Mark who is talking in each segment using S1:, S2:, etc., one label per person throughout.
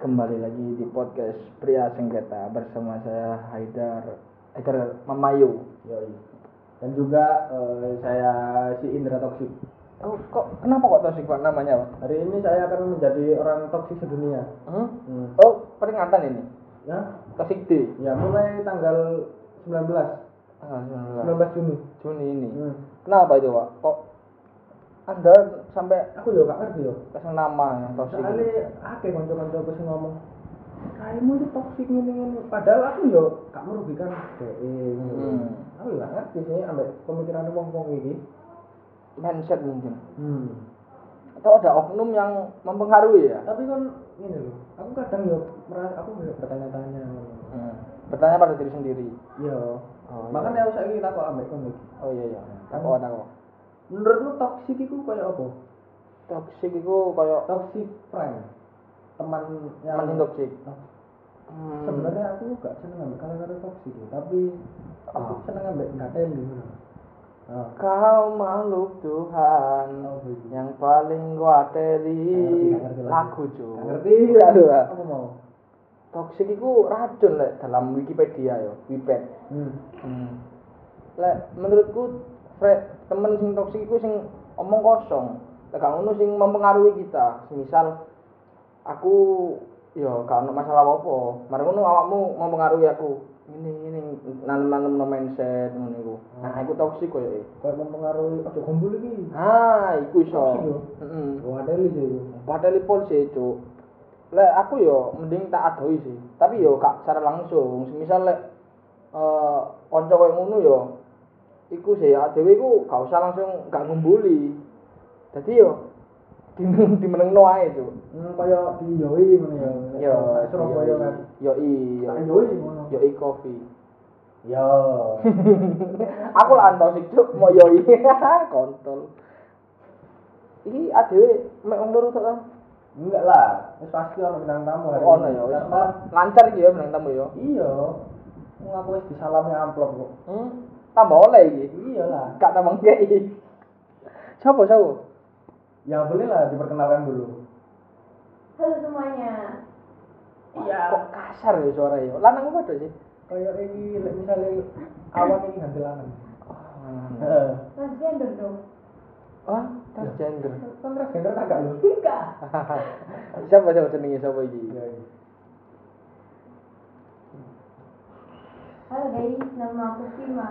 S1: kembali lagi di podcast pria sengketa bersama saya Haidar Haidar Mamayu
S2: Yoi. Dan juga eh, saya si Indra Toksik.
S1: oh, kok kenapa kok toxic pak namanya pak
S2: Hari ini saya akan menjadi orang toksik sedunia.
S1: Hmm?
S2: Hmm.
S1: oh peringatan ini
S2: Ya,
S1: toxic D
S2: ya mulai tanggal 19,
S1: tanggal
S2: 19 Juni.
S1: 19 Juni ini
S2: Hmm.
S1: kenapa itu pak kok anda sampai
S2: Aku yo gak ngerti yo.
S1: kasih nama ya, yang toxic
S2: Soalnya
S1: ini?
S2: akeh kanca-kanca aku sing ngomong kayakmu itu toksik ngene-ngene. Padahal aku yo gak merugikan dhewe.
S1: Hmm.
S2: Aku yo gak ngerti sih ambek pemikiran wong-wong iki.
S1: mindset mungkin
S2: Hmm.
S1: atau ada oknum yang mempengaruhi ya
S2: Tapi kan ini loh, aku kadang yo merasa aku kayak bertanya-tanya.
S1: hmm. bertanya pada diri sendiri
S2: Yo,
S1: oh,
S2: makanya aku Iya. saiki takok ambek kon iki.
S1: oh iya iya takut
S2: Hmm.
S1: takut
S2: Menurutmu toksik itu kayak apa?
S1: toxic itu kayak
S2: Toxic friend. Teman yang
S1: teman yang toxic
S2: Hmm.
S1: Hmm.
S2: Sebenarnya aku gak seneng ambek kata-kata toksik ya, tapi aku
S1: Ah.
S2: seneng ambek gatel gitu. Ah,
S1: Kau makhluk Tuhan
S2: oh, begitu.
S1: yang paling gua ateli
S2: Nggak ngerti, nggak ngerti lagi.
S1: lagu cuy.
S2: Gak ngerti
S1: Aduh, ah.
S2: Apa mau?
S1: Toxic itu racun lek dalam Wikipedia yo, Wiped.
S2: Hmm.
S1: Hmm. Lek menurutku fre, temen sing toksik iku sing omong kosong. Lek gak ngono sing mempengaruhi kita. Misal aku yo gak ono masalah apa-apa. Mari ngono awakmu mempengaruhi aku. Ini ini nanem-nanem no mindset ngono iku. Nah,
S2: Hmm.
S1: iku toksik koyo.
S2: Kayak mempengaruhi ojo gombol iki.
S1: Ah, iku iso.
S2: Toxic yo.
S1: Heeh.
S2: Gatel sih. itu.
S1: Padahal pol sih cuk. Lek aku yo mending tak adoi sih. Tapi yo gak secara langsung. Misal lek eh kanca koyo ngono yo iku sih ya dhewe iku gak usah langsung gak ngumbuli. Dadi yo dimeneng dimenengno ae cuk.
S2: Hmm, kayak di Yoi ngono ya.
S1: Yo
S2: Nang Surabaya kan.
S1: Yo i yo
S2: Nang
S1: i-
S2: Yoi ngono.
S1: yo i kopi.
S2: Yo.
S1: aku lah antos sih cuk mau yo i kontol. Iki adewe mek wong loro tok ah? ta?
S2: Enggak lah, wis pasti ono bintang tamu hari
S1: Ono
S2: ini.
S1: ya wis
S2: Karena
S1: lancar iki ya meneng tamu yo.
S2: Iya. Wong aku wis disalami amplop kok.
S1: Hmm, tambah oleh iki.
S2: Iya lah.
S1: Kak tambah ngei. Siapa siapa?
S2: Ya boleh lah diperkenalkan dulu.
S3: Halo semuanya.
S1: Kok kasar ya suara ya? Lanang apa sih?
S2: Kayak ini like, misalnya awan ini gantilanan.
S1: Oh,
S2: Heeh.
S3: Transgender dong.
S1: ah, transgender.
S2: Kan transgender tak gak lu?
S3: Enggak.
S1: siapa siapa jenenge siapa iki?
S2: Iya. iya.
S3: Halo guys, nama aku Prima.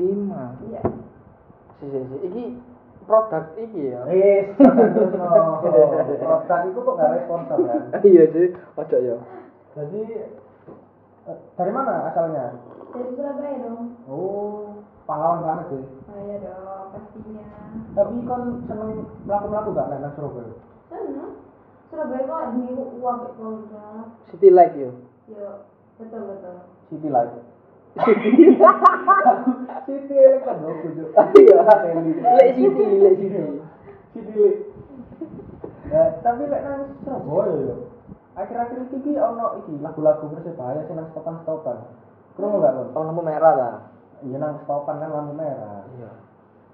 S1: Lima.
S3: Iya.
S1: Si si si. Iki produk iki ya.
S2: Wis, terus no. Rotan itu kok gak responsor kan?
S1: Iya sih, ojo ya.
S2: Jadi eh, dari mana asalnya?
S3: Dari Surabaya dong.
S2: Oh, pahlawan banget sih.
S3: Oh iya dong, pastinya.
S2: Tapi kon seneng melaku-melaku gak nang Surabaya?
S3: Sana. Surabaya kok di uang ke Polda.
S1: City Light ya.
S3: Yo, betul betul.
S2: City Light. City Light kan lo kudu.
S1: Iya. Lek City, lek City.
S2: City Light. Nah, tapi lek nang Surabaya yo. Akhir-akhir iki ki ono iki lagu-lagu Persebaya sing nang stopan-stopan. Krungu gak kon?
S1: Oh, lampu merah lah.
S2: Iya nang stopan kan lampu merah.
S1: Iya.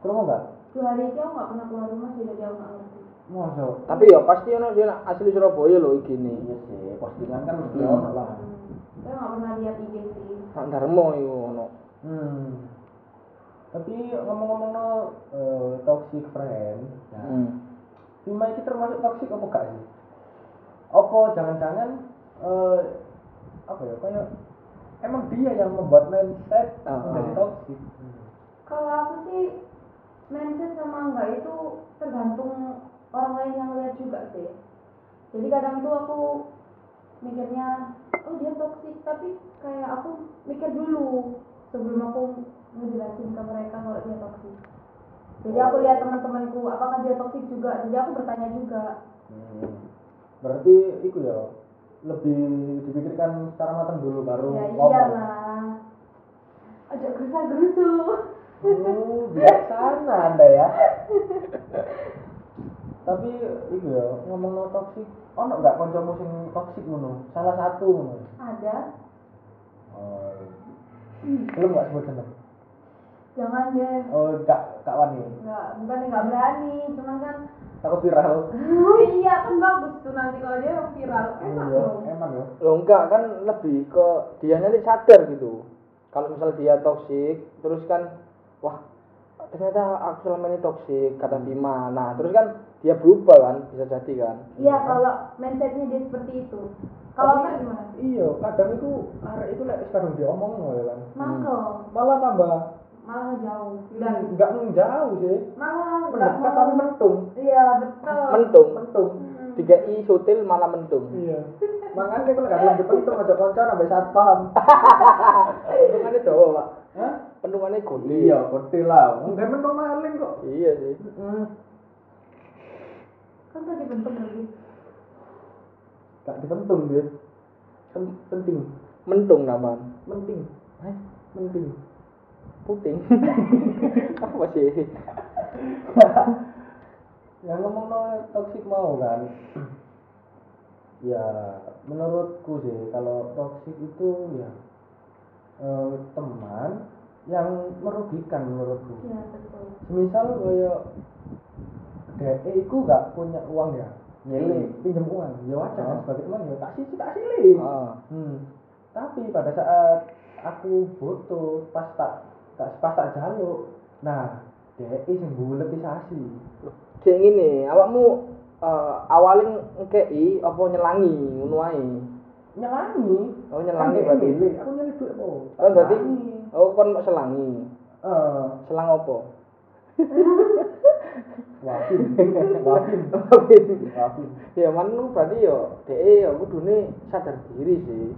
S2: Krungu gak?
S3: Dua hari itu aku nggak pernah keluar rumah sih dari aku nggak ngerti.
S2: Masa?
S1: Tapi ya pasti ono sih nak asli Surabaya lho iki nih.
S2: Iya sih, postingan kan mesti
S1: Hmm.
S2: ono lah.
S3: Hmm. Saya nggak pernah lihat IG sih.
S1: Sak Darmo iku ono.
S2: Hmm. Tapi ngomong-ngomong no eh, toxic friend, nah,
S1: Hmm.
S2: Bima itu termasuk toksik apa gak sih? Apa jangan-jangan eh apa ya kayak emang dia yang membuat mindset
S1: Ah,
S2: menjadi
S1: ah.
S2: toksik.
S3: Kalau aku sih mindset sama enggak itu tergantung orang lain yang lihat juga sih. Jadi kadang tuh aku mikirnya, oh dia toksik, tapi kayak aku mikir dulu sebelum aku ngejelasin ke mereka kalau dia toksik. Jadi aku
S2: Oh.
S3: lihat teman-temanku, apakah dia toksik juga? Jadi aku bertanya juga.
S2: Hmm. Berarti itu ya lebih dipikirkan secara matang dulu baru
S3: ya
S2: ngomong.
S3: iyalah. Ajak gerusa-gerusu.
S2: Oh, bijaksana Anda ya. Tapi itu ya ngomong no toksik, ono nggak kancamu sing toksik ngono? Salah satu ngono.
S3: Ada,
S2: Oh.
S3: Hmm.
S2: Belum nggak sebut jeneng.
S3: jangan deh.
S2: Oh, kak kak Wani.
S3: nggak bukan nggak berani cuman kan
S2: takut viral
S3: Oh iya kan bagus tuh nanti kalau dia emang viral enak
S2: Iya,
S3: dong.
S2: emang ya
S1: Loh enggak kan lebih ke dia nanti sadar gitu. Kalau misal dia toksik, terus kan wah ternyata aku selama ini toksik kata Bima. Nah terus kan dia berubah kan bisa jadi kan.
S3: Iya kalau mindsetnya dia seperti itu. Kalau
S2: Tapi-
S3: kan gimana?
S2: iya kadang itu arek itu lek sekarang diomong ya kan
S3: Mangkel,
S2: malah tambah
S3: malah ngejauh. Dan
S2: nggak menjauh sih
S3: malah nggak
S2: mendekat tapi
S3: mau.
S2: mentung
S3: Iya betul.
S1: Mentung.
S2: mentung
S3: Hmm.
S1: Tiga i sutil malah mentung.
S2: iya makanya kalau nggak lebih pentung aja konco sampai saat paham
S1: Pentungannya Jawa pak.
S2: Hah?
S1: Pentungannya goli.
S2: iya ngerti lah nggak mentung maling kok
S1: Iya sih.
S2: Hmm.
S3: Kan tadi bentuk lagi.
S2: nggak dipentung sih Pen- penting
S1: Mentung naman.
S2: penting eh penting
S1: Puting. Apa sih?
S2: yang ngomong no toxic mau kan ya menurutku sih kalau toxic itu ya eh, teman yang merugikan menurutku
S3: Iya betul.
S2: misal kayak DE itu nggak punya uang ya nyeling pinjam uang ya wajar kan
S1: Oh.
S2: sebagai teman ya tak sisi tak silih
S1: Ah.
S2: hmm. tapi pada saat aku butuh pas tak tak pas tak jaluk nah DE sing bulet sasi
S1: Kayak gini, awakmu eh, awalin ngekei apa nyelangi ngono ae.
S2: nyelangi
S1: Oh, nyelangi berarti.
S2: Nyelangi. aku nyelip duit po
S1: Oh, berarti
S2: Nyelangi.
S1: oh kon mau selangi.
S2: eh
S1: Selang apa?
S2: wafin wafin wafin
S1: ya man lu berarti yo dhek yo kudune sadar diri sih.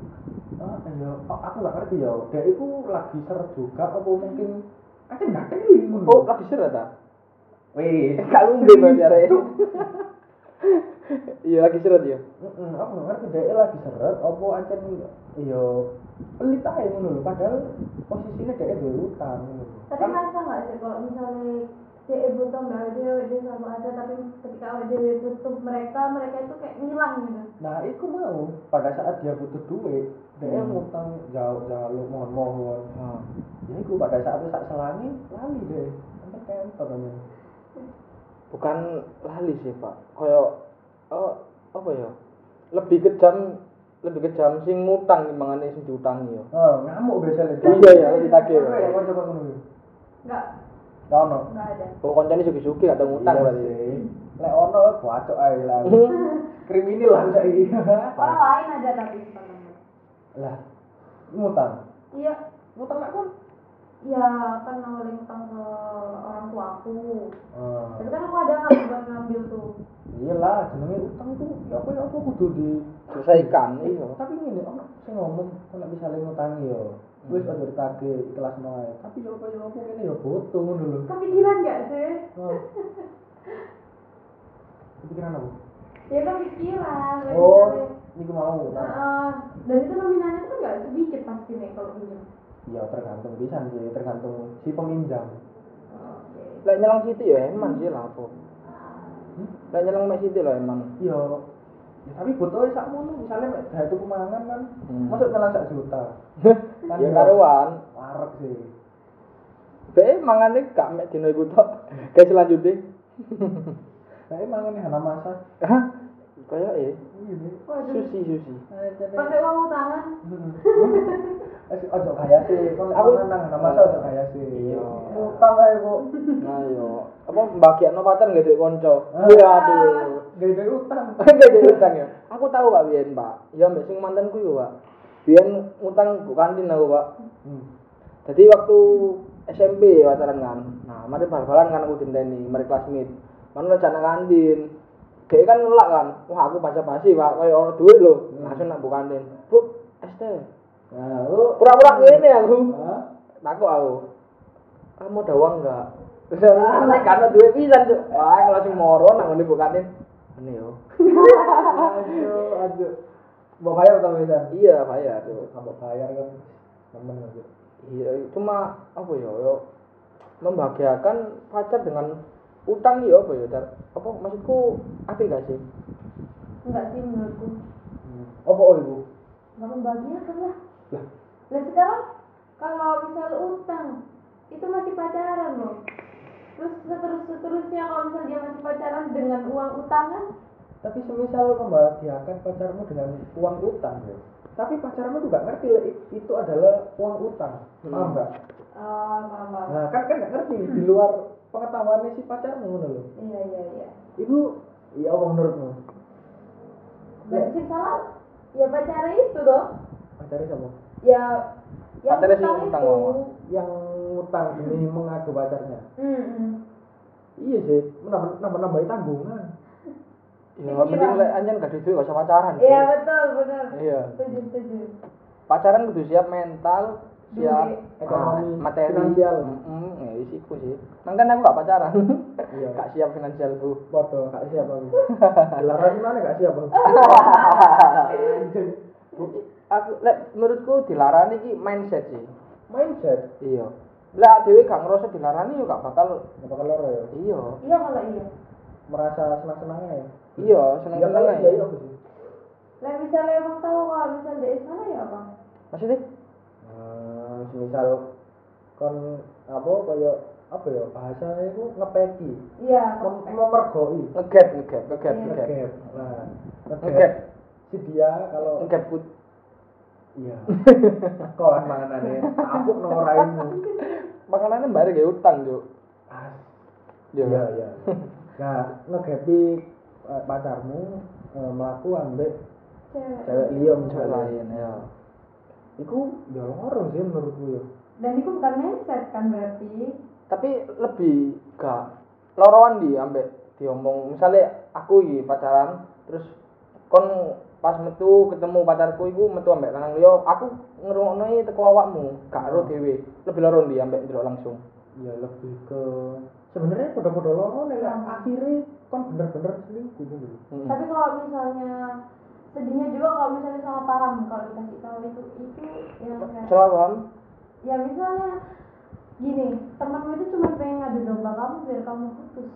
S2: ah iya Oh, aku nggak ngerti ya dia itu lagi seret juga apa mungkin aja nggak kering
S1: Oh, lagi seret ta?
S2: wih
S1: Gak lumbe berarti arek. Iya lagi seret yo.
S2: Mm-mm, aku nggak ngerti dia lagi seret apa aja iya pelit aja ngono lho. padahal posisinya dia itu utang ngono lho.
S3: Tapi merasa nggak sih kalau misalnya dia butuh mbak Dewi dia selalu ada tapi ketika awal Dewi butuh mereka mereka itu kayak ngilang gitu.
S2: Nah, itu mau pada saat dia butuh duit, dia
S1: Hmm.
S2: ngutang jauh jauh mohon mohon.
S1: Ah.
S2: Ya, itu pada saat itu tak selani lali deh, sampai kantor aja.
S1: Bukan lali sih, Pak. Koyo oh, apa ya? Lebih kejam lebih kejam sing ngutang timbangane sing diutangi yo.
S2: Oh, ngamuk biasanya.
S1: Iya ya, lebih tagih.
S2: Apa ya, kocok kocok dulu.
S3: Nggak
S2: Ono.
S3: nggak ada.
S1: Oh, koncone sugi-sugi atau ngutang
S2: Iya
S1: berarti.
S2: sih. Lek ono, bacok aja lah. Kriminal lah saya.
S3: Orang lain ada tapi teman-teman.
S2: Lah, ngutang.
S3: Iya
S2: Ngutang nak kon?
S3: ya kan awalnya utang ke orang tua aku.
S2: Oh,
S3: Tapi kan aku ada kan buat ngambil tuh.
S2: Iyalah, iya jenenge utang itu ya apa ya apa kudu di
S1: Selesaikan iya.
S2: tapi ngene ono sing ngomong kok nek bisa ngutangi yo wis aja ditagih ikhlas noe tapi yo apa yo apa ngene yo butuh ngono lho
S3: Kepikiran nggak sih?
S1: Hmm.
S2: Oh. kepikiran apa
S3: Ya kepikiran. kayak
S2: oh
S3: misalnya,
S2: niku mau
S3: Nah,
S2: nah
S3: eh, dan itu nominalnya tuh nggak sedikit pasti nih kalau pinjam.
S2: ya tergantung bisa sih tergantung si peminjam
S3: Oke.
S1: Lek nyelang situ ya eman sih lah apa.
S2: Hmm?
S1: Lek nyelang mek situ lah eman.
S2: yo ya, tapi butuh sak mono misalnya mek gawe tuku mangan kan
S1: Hmm.
S2: masuk nyelang sak juta Kan
S1: ya
S2: yo.
S1: karuan.
S2: warek sih
S1: Be mangane gak mek dino iku tok. Kayak selanjutnya.
S2: kayak mangan hana masa
S1: Hah? Kayak eh
S2: iya deh
S3: Waduh.
S1: susi susi.
S2: ya,
S3: Pakai uang utangan.
S2: Eh, ojo kaya sih, kalau
S1: Aku-
S2: aku nang nang masa ojo kaya sih.
S1: Iya.
S2: Utang ae kok.
S1: Nah yo, apa mbagiakno pacar gak duwe kanca.
S2: Ah.
S1: Ya aduh.
S2: Gede utang.
S1: Gak duwe utang ya. Aku tahu Pak Bian, Pak. Ya mek sing mantanku yo, Pak. Bian utang bukan kantin aku, Pak.
S2: Hmm.
S1: Jadi waktu SMP ya pacaran kan. Nah, mari bal-balan kan aku dinteni, mari classmate. Mana lo jana kantin. Dia kan ngelak kan. Wah, aku basa-basi, Pak. Kayak orang duit lho. Langsung nak buka kantin. Bu, es teh.
S2: Nah, lu
S1: Pura-pura ngene aku.
S2: Hah?
S1: Takut aku. Kamu ada uang enggak? Terus aku naik kan duit pisan, Cuk. Wah, aku langsung moro nang ngene buka kantin. Ini yo.
S2: Aduh, aduh. Mau bayar utang bisa?
S1: Iya, Pak ya, tuh.
S2: Mau bayar kan. Temen aja.
S1: Iya, cuma apa ya, ya membahagiakan pacar dengan utang ya apa ya, Dar? apa maksudku apa gak sih?
S3: Enggak sih menurutku.
S2: Apa oh ibu?
S3: Nggak membahagiakan lah.
S2: Lah,
S3: Nah sekarang kalau misal utang itu masih pacaran loh. terus seterus seterusnya kalau misalnya dia masih pacaran dengan uang utang kan
S2: Tapi semisal kau bahas diangkat pacarmu dengan uang utang, ya. tapi pacarmu tuh nggak ngerti lah, i- itu adalah uang utang,
S1: Hmm.
S2: paham nggak?
S3: ah paham paham
S2: Nah kan kan nggak ngerti di luar pengetahuannya si pacarmu ngono loh.
S3: iya iya iya
S2: Itu ya apa menurutmu?
S3: berarti salah ya pacarnya itu dong
S2: Pacarnya siapa?
S3: ya yang
S1: Pacarnya sih
S3: utang
S1: utang,
S3: itu
S1: Mama.
S2: Yang utang ini mengadu pacarnya.
S3: Hmm, hmm.
S2: Iya sih, menambah nambah nambahin tanggungan.
S1: Ya, mending lek anjen gak ada duit gak usah pacaran.
S3: iya betul benar
S1: Iya.
S3: setuju setuju
S1: Pacaran kudu siap mental, siap
S3: Duit.
S2: Ekonomi,
S1: ah, materi,
S2: finansial.
S1: Heeh, ya isiku sih. Nang kan aku gak pacaran.
S2: Iya.
S1: gak siap finansialku.
S2: Bodoh, kak siap aku. Dilarang mana kak siap aku? Anjing.
S1: Aku lek menurutku dilarani iki mindset sih.
S2: Mindset,
S1: Iya. Lah dhewe gak ngerasa dilarani yo gak bakal
S2: nggak bakal loro ya.
S1: iya.
S3: iya kalau iya
S2: Merasa senang senangnya ya.
S1: Iya,
S2: Ya
S1: seneng-seneng
S2: kalau
S1: ae.
S2: iya iya aku sih.
S3: lah misalnya emang tahu kalau misalnya dari sana ya apa
S1: Maksudnya?
S2: Hmm, misal kon apa kaya apa ya bahasanya itu ngepeki,
S3: iya
S2: mem memergoi,
S1: Ngegap, ngegap, ngegap,
S3: Iya.
S1: ngegap.
S2: ngegap. Nah,
S1: Ngegap.
S2: ngegap. Si dia kalau
S1: Ngegap put.
S2: iya. Kawan manganane, aku noraimu.
S1: Makanannya bareng ya utang, Cuk.
S2: Ah,
S1: Iya.
S2: Iya, iya. Nah, ngegapi eh, pacarmu eh, melaku ambek
S3: cewek
S2: cewek liya
S1: Cewek
S2: misalnya.
S1: lain, ya.
S2: Iku ya loro sih menurutku ya.
S3: dan itu bukan mindset kan berarti
S1: Tapi lebih gak loroan di ambek diomong. Misalnya aku iki pacaran, terus kon pas metu ketemu pacarku iku metu ambek lanang liya, aku ngrungokno iki teko awakmu, gak ero dhewe. Lebih loroan di ambek ndelok langsung.
S2: Ya lebih ke sebenarnya podo-podo loro nek akhirnya kon bener-bener selingkuh dulu.
S1: Mm-mm.
S3: tapi kalau misalnya sedihnya juga kalau misalnya salah paham kalau dikasih tahu itu itu yang kayak
S1: Salah paham?
S3: ya misalnya gini temanmu itu cuma pengen ngadu domba kamu biar kamu putus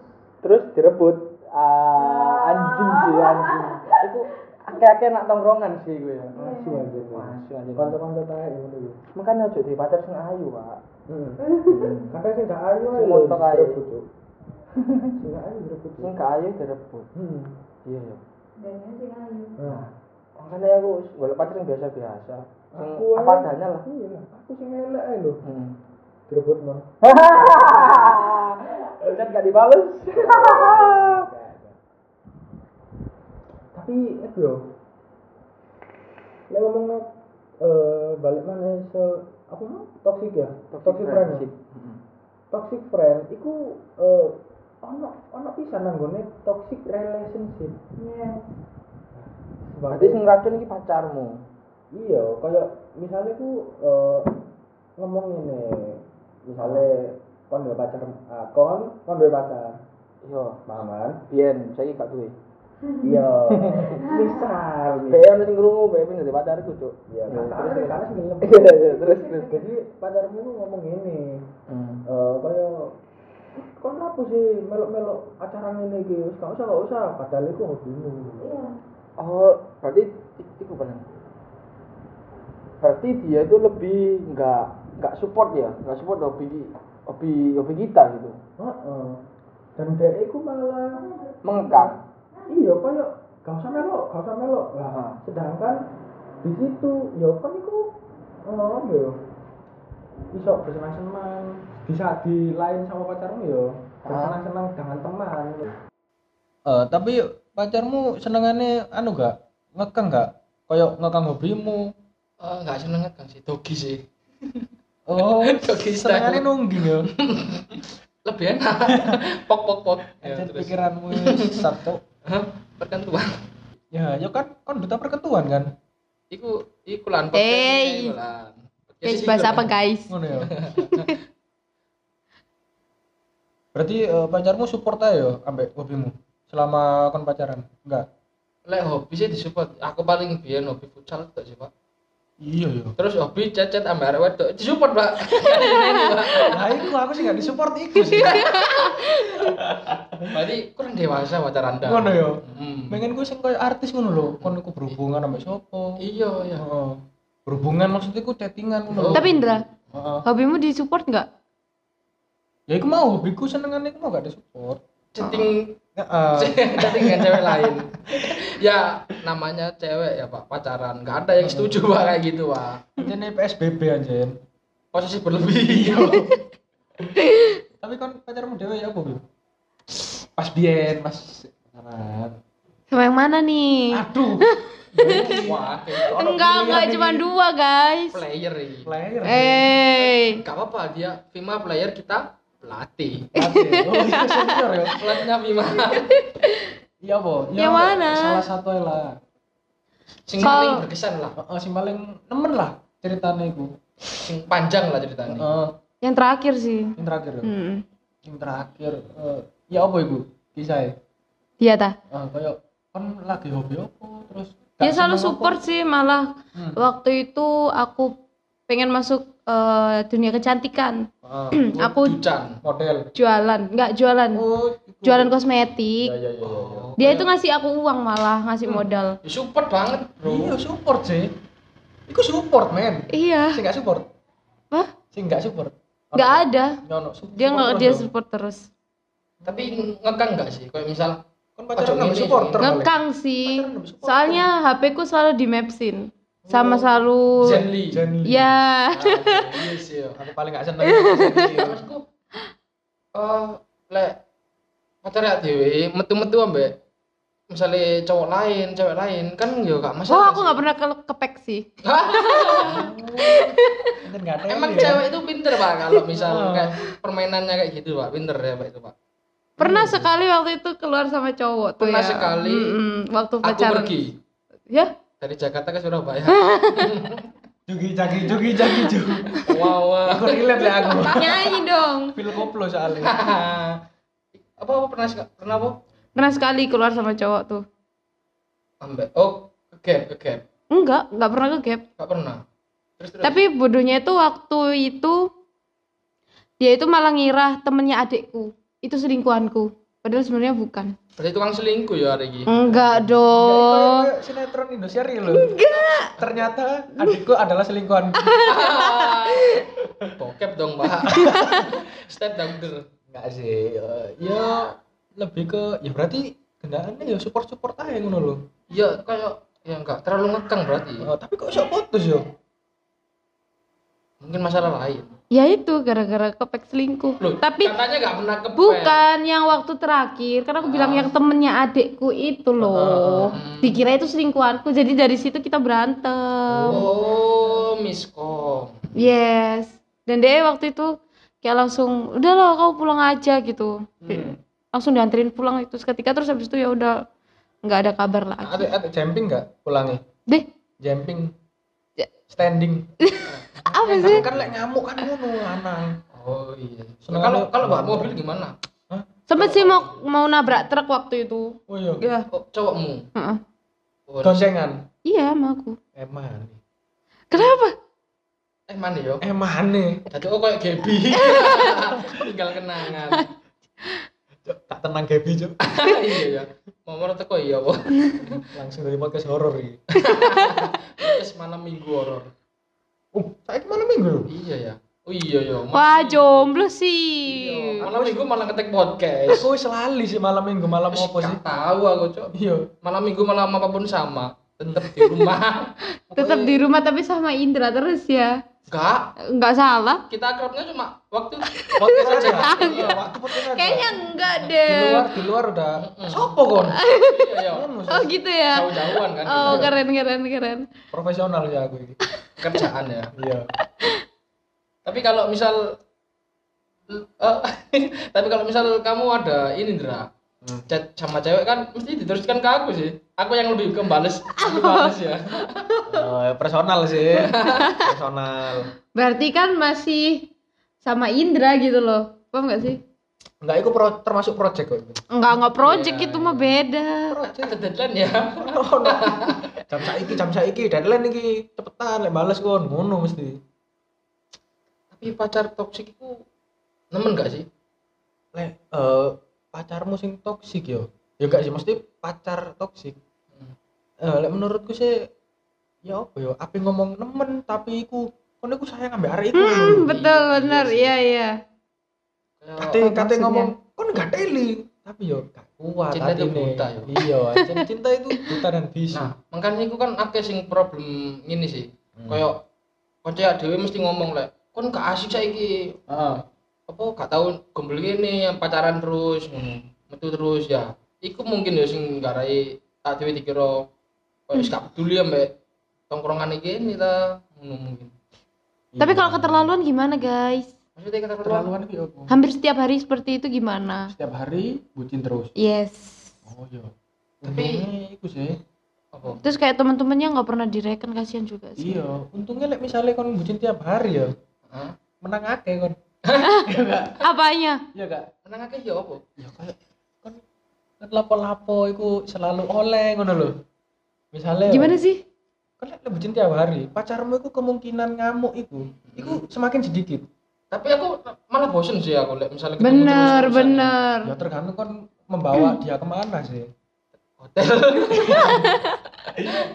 S1: terus direbut ah anjing sih anjing itu akeh-akeh nak tongkrongan sih gue ya
S2: Asu aja.
S1: Asu aja.
S2: Kanca-kanca tae ngono lho.
S1: makanya ojo di pacar sing ayu pak
S2: Heeh. Kadang sing gak ayu
S1: Sing montok ae.
S2: direbut, Cuk. Sing gak ayu direbut. Cuk.
S1: sing gak ayu direbut
S2: Hmm.
S1: iya ya
S3: dan ya sih ayu
S2: Nah,
S1: makanya aku boleh pacar yang biasa-biasa sing
S2: aku
S1: apa
S2: ae-
S1: adanya lah
S2: Iya, aku sing elek ae lho.
S1: hmm.
S2: Direbut mah.
S1: Chat gak dibales
S2: tapi itu yo lek ngomong nek eh balik mana se apa mau toxic ya toxic, friend,
S1: friendship.
S2: ya? toxic friend iku eh ono ono pisan nanggone toxic relationship
S3: yes
S1: berarti sing racun iki pacarmu
S2: iya kaya misalnya ku eh ngomong ini misalnya kon duwe pacar ah, kon kon duwe pacar
S1: iya
S2: maman
S1: Bien, saya gak duwe.
S2: iya misal
S1: BM
S2: misal
S1: sing krungu, BM gak pacarku, Cuk.
S2: iya
S1: Nah,
S2: terus
S1: terus.
S2: terus
S1: Iya, iya, terus terus.
S2: jadi pacarmu tuh ngomong gini
S1: Hmm.
S2: eh kaya kon apa sih melok-melok acara ngene iki wis gak usah gak usah padahal iku hobimu
S3: iya
S1: Oh, berarti i- itu kan. Berarti dia itu lebih nggak nggak support ya, nggak support hobi hobi hobi kita gitu.
S2: heeh dan dia iku malah
S1: Mengekang.
S2: iya kaya gak usah melok gak usah melok lah
S1: Ah.
S2: sedangkan di situ ya kan iku ngomong ya iso bersenang-senang bisa di lain sama pacarmu ya bersenang-senang dengan teman
S4: Eh, tapi pacarmu senengannya anu gak ngekang gak koyok ngekang hobimu
S1: Nggak seneng kan sih, dogi sih.
S4: oh
S1: Dogi
S4: senengannya nungging ya
S1: lebih enak. pok pok pok. Ya,
S4: Anjir, pikiranmu Ya,
S2: ya.
S4: satu
S1: Perkentuan.
S4: ya ya kan kan duta perketuan kan
S1: Iku ikulan
S5: podcast Hey. ini
S2: Ya,
S5: Guys, bahas apa guys?
S4: ngono ya berarti eh, pacarmu support aja ya ambek hobimu selama kon pacaran enggak
S6: lek hobi sih disupport aku paling biyen hobi futsal tok sih pak
S4: iya ya
S6: terus hobi cecet ambil arek wedok disupport pak
S4: nah iku aku sih gak disupport iku sih
S6: berarti kurang dewasa pacar anda
S4: ngono ya
S6: Hmm.
S4: pengen gue sing koyo artis ngono lho kon iku berhubungan ambek Oh. sopo
S6: iya ya
S4: Heeh. berhubungan maksudnya ku chattingan ngono lho.
S5: Tapi Indra,
S4: Heeh.
S5: hobimu disupport nggak?
S2: ya iku mau hobiku senengane iku mau gak disupport
S1: chatting
S2: heeh
S1: chatting dengan cewek lain ya namanya cewek ya pak pacaran nggak ada yang setuju pak kayak gitu pak
S2: ini PSBB anjen
S1: posisi berlebih
S2: tapi kan pacarmu dewe ya apa Bim? pas biyen pas pacaran
S3: Sama yang mana nih?
S2: aduh Iya,
S1: wah kayak
S2: Ah,
S1: gitu. Orang
S3: Enggak, enggak
S1: pilihan
S3: cuma
S1: ini.
S3: dua guys.
S1: player ini
S2: player
S3: Eh,
S1: nggak apa-apa dia Vima player kita pelatih
S2: Pelatih. oh iya senior ya
S1: pelatihnya Vima
S2: iya apa
S3: Yang mana?
S2: salah satu ae lah
S1: sing
S3: Kalau-
S1: paling berkesan lah
S2: Heeh, sing paling nemen lah ceritanya iku
S1: sing panjang lah ceritanya
S2: Heeh,
S3: yang terakhir sih.
S2: yang terakhir ya.
S3: Hmm.
S2: yang terakhir eh, ya apa iku kisah e.
S3: Iya ta.
S2: eh kayak kan lagi hobi apa terus gak
S3: Dia selalu
S2: seneng apa.
S3: support sih malah
S2: Hmm.
S3: waktu itu aku pengen masuk eh, dunia kecantikan,
S2: Heeh,
S3: Aku-
S1: Ducan
S2: Ah, model
S3: jualan, enggak jualan,
S2: oh iku.
S3: Hmm. jualan
S2: ya
S3: kosmetik.
S2: ya ya ya, ya.
S3: Dia itu ngasih aku uang malah, ngasih modal.
S1: Ya, support banget
S2: Iya
S1: bro
S2: support sih. Iku support men.
S3: Iya,
S2: Sing gak support.
S3: Hah?
S2: Sing gak support.
S3: nggak ada.
S2: Nyono support. kan
S3: Dia nggak dia
S2: dong.
S3: support terus.
S1: tapi ngekang nggak sih kayak misal
S2: kan pacaran
S1: Ojo
S2: nggak
S1: ngene,
S2: supporter.
S1: Terbalik.
S3: Ngekang sih.
S2: Pacaran nggak supporter.
S3: Soalnya HP ku selalu di mapsin. Sama
S1: Oh.
S3: selalu
S1: Zenly
S2: Jenny.
S3: ya
S1: iya sih ya.
S2: Aku paling gak seneng. Jenny.
S1: maksudku eh lek pacar ya dewe metu-metu ambek misalnya cowok lain cewek lain kan ya gak
S3: Wah,
S1: masalah
S3: Oh, aku nggak pernah ke kepek sih.
S2: Kan nggak ada.
S1: emang
S2: ya.
S1: cewek itu pinter pak kalau misal
S2: Ah.
S1: kayak permainannya kayak gitu pak pinter ya pak itu pak
S3: Pernah sekali waktu itu keluar sama cowok tuh
S1: Hmm. Pernah
S3: ya.
S1: sekali.
S3: Mm-mm, waktu
S1: aku
S3: pacaran.
S1: pergi
S3: Ya,
S1: dari Jakarta ke Surabaya
S2: Jugi jagi jugi jagi ju.
S1: wow, wow.
S2: Aku relate lah aku.
S3: nyanyi dong.
S2: Feel koplo soalnya.
S1: apa apa pernah sek- pernah apa
S3: Pernah sekali keluar sama cowok tuh.
S1: ambek oh ke gap ke gap
S3: Enggak, nggak pernah ke gap.
S1: gak pernah terus terus
S3: Tapi bodohnya itu waktu itu dia itu malah ngira temennya adikku. Itu selingkuhanku. Padahal sebenarnya bukan.
S1: berarti tukang selingkuh ya hari ini
S3: Enggak
S2: Oh,
S3: dong.
S2: sinetron Indonesia real loh. Enggak. Ternyata adikku adalah selingkuhan.
S1: bokep dong pak step down
S2: Enggak sih. eh, ya lebih ke ya berarti kendaraannya ya support support aja ngono loh.
S1: Iya, kayak ya nggak terlalu ngekang berarti.
S2: Oh, tapi kok bisa putus yo?
S1: Mungkin masalah lain.
S3: Ya itu gara-gara kepek selingkuh.
S1: Loh,
S3: Tapi
S1: katanya nggak pernah kepel.
S3: Bukan yang waktu terakhir, karena aku bilang yang temennya adekku itu loh. Dikira itu selingkuhanku, jadi dari situ kita berantem.
S1: E. Oh, miskom.
S3: Yes. Dan dia waktu itu kayak langsung, udah lah kau pulang aja gitu.
S2: Hmm.
S3: Langsung dianterin pulang itu seketika terus habis itu ya udah nggak ada kabar lagi.
S2: Ada ada jumping nggak pulangnya?
S3: Deh,
S2: Jumping.
S3: Ya.
S2: Standing.
S3: apa
S2: Enak,
S3: sih?
S2: Kan lek ngamuk kan ngono lanang.
S1: Oh iya.
S2: Seneng
S1: kalau
S2: banget.
S1: kalau bawa mobil gimana?
S3: Sempet sih mau mau nabrak truk waktu itu.
S2: Oh iya.
S3: Ya,
S1: Oh, cowokmu.
S3: heeh.
S1: Oh,
S2: Kan- Goncengan.
S3: Iya, sama aku.
S2: Eman.
S3: Kenapa?
S1: eh mana yo?
S2: Emane.
S1: Tadi oh kayak Gaby. Tinggal kenangan.
S2: Cuk, tak tenang Gaby cuk.
S1: iya ya. Mau menurut aku iya, Bo.
S2: Langsung dari podcast horor iki.
S1: Terus malam minggu horor.
S2: Uh, saya malam minggu lho.
S1: Iya ya. Oh iya ya.
S3: Wah, jomblo
S1: Iya.
S3: sih.
S1: Malam minggu malah ngetek podcast.
S2: Aku selalu Oh, sih malam minggu malam
S1: Terus
S2: apa sih?
S1: nggak tahu aku, Cok.
S2: Iya.
S1: Malam minggu malam apapun sama. Tetap di rumah.
S3: Tetap di rumah tapi sama Indra terus ya.
S1: Enggak,
S3: Nggak salah.
S1: kita akrabnya cuma waktu
S2: Podcast aja. Iya, waktu podcast aja.
S3: Kayaknya eh, enggak
S2: di
S3: deh.
S2: luar di luar udah sopo Kan kon?
S1: iya ya
S2: Ngono,
S3: Oh gitu ya.
S1: jauh-jauhan kan
S3: Oh
S1: kita.
S3: keren keren keren.
S2: Profesional ya aku ini.
S1: kerjaan ya
S2: Iya.
S1: tapi kalau misal eh, tapi kalau misal kamu ada ini Indra chat sama cewek kan mesti diteruskan ke aku sih aku yang lebih kembales kembales ya
S2: Eh, personal sih. Personal.
S3: Berarti kan masih sama Indra gitu loh. Paham nggak sih?
S2: Enggak, itu pro- termasuk project kok. itu.
S3: Enggak enggak project
S1: Iya,
S3: itu mah beda.
S1: ada deadline ya
S2: Ono. jam saiki, jam saiki, deadline iki cepetan lek bales kon, ngono mesti.
S1: tapi pacar toksik itu nemen gak sih
S2: Lek eh, pacarmu sing toksik yo. Ya enggak sih, mesti pacar toksik. Eh, lek menurutku sih ya apa yo, ape ngomong nemen tapi iku kon iku sayang ambek arek iku.
S3: Iya, Hmm, betul benar. Iya iya.
S2: kate
S1: Oh,
S2: kate
S3: Apa maksudnya?
S2: ngomong kon gak teli tapi yo gak kuat
S1: Cinta itu
S2: hatine.
S1: buta, yo.
S2: iya cin- cinta itu buta dan bisu
S1: Nah, makanya iku kan akeh sing problem ngene sih.
S2: Hmm.
S1: Kayak kanca dhewe mesti ngomong lek, kon gak asik saiki.
S7: Heeh.
S1: Apa gak tau gombel ngene, pacaran terus, ngono.
S3: Hmm.
S1: metu terus ya. Iku mungkin ya sing garai tak dhewe dikira koyo wis
S3: Hmm.
S1: gak peduli ambek tongkrongan iki ini ta, ngono mungkin.
S3: Tapi
S2: Iya.
S3: kalau keterlaluan gimana guys?
S1: Maksudnya kata
S7: Keterlaluan itu ya apa?
S3: Hampir setiap hari seperti itu gimana?
S7: Setiap hari bucin terus.
S3: Yes.
S7: Oh iya.
S1: Tapi-
S7: Untungnya iku sih.
S1: apa?
S3: Terus kayak temen-temennya nggak pernah direken kasihan juga sih.
S7: Iya.
S2: untungnya lek misalnya kon bucin tiap hari ya
S1: Hah?
S2: menang akeh kon
S3: Apanya?
S7: Iya gak?
S1: Menang akeh ya apa?
S2: ya kayak kon kan lapo-lapo iku selalu oleh ngono lho misalnya
S3: Gimana sih?
S2: kan lek bucin tiap hari pacarmu itu kemungkinan ngamuk itu itu semakin sedikit
S1: Tapi aku malah bosen sih aku lek misalnya ketemu
S3: Bener,
S1: terus-terusan.
S3: bener.
S2: ya tergantung kon
S1: Hmm.
S2: membawa dia kemana sih
S1: Hotel.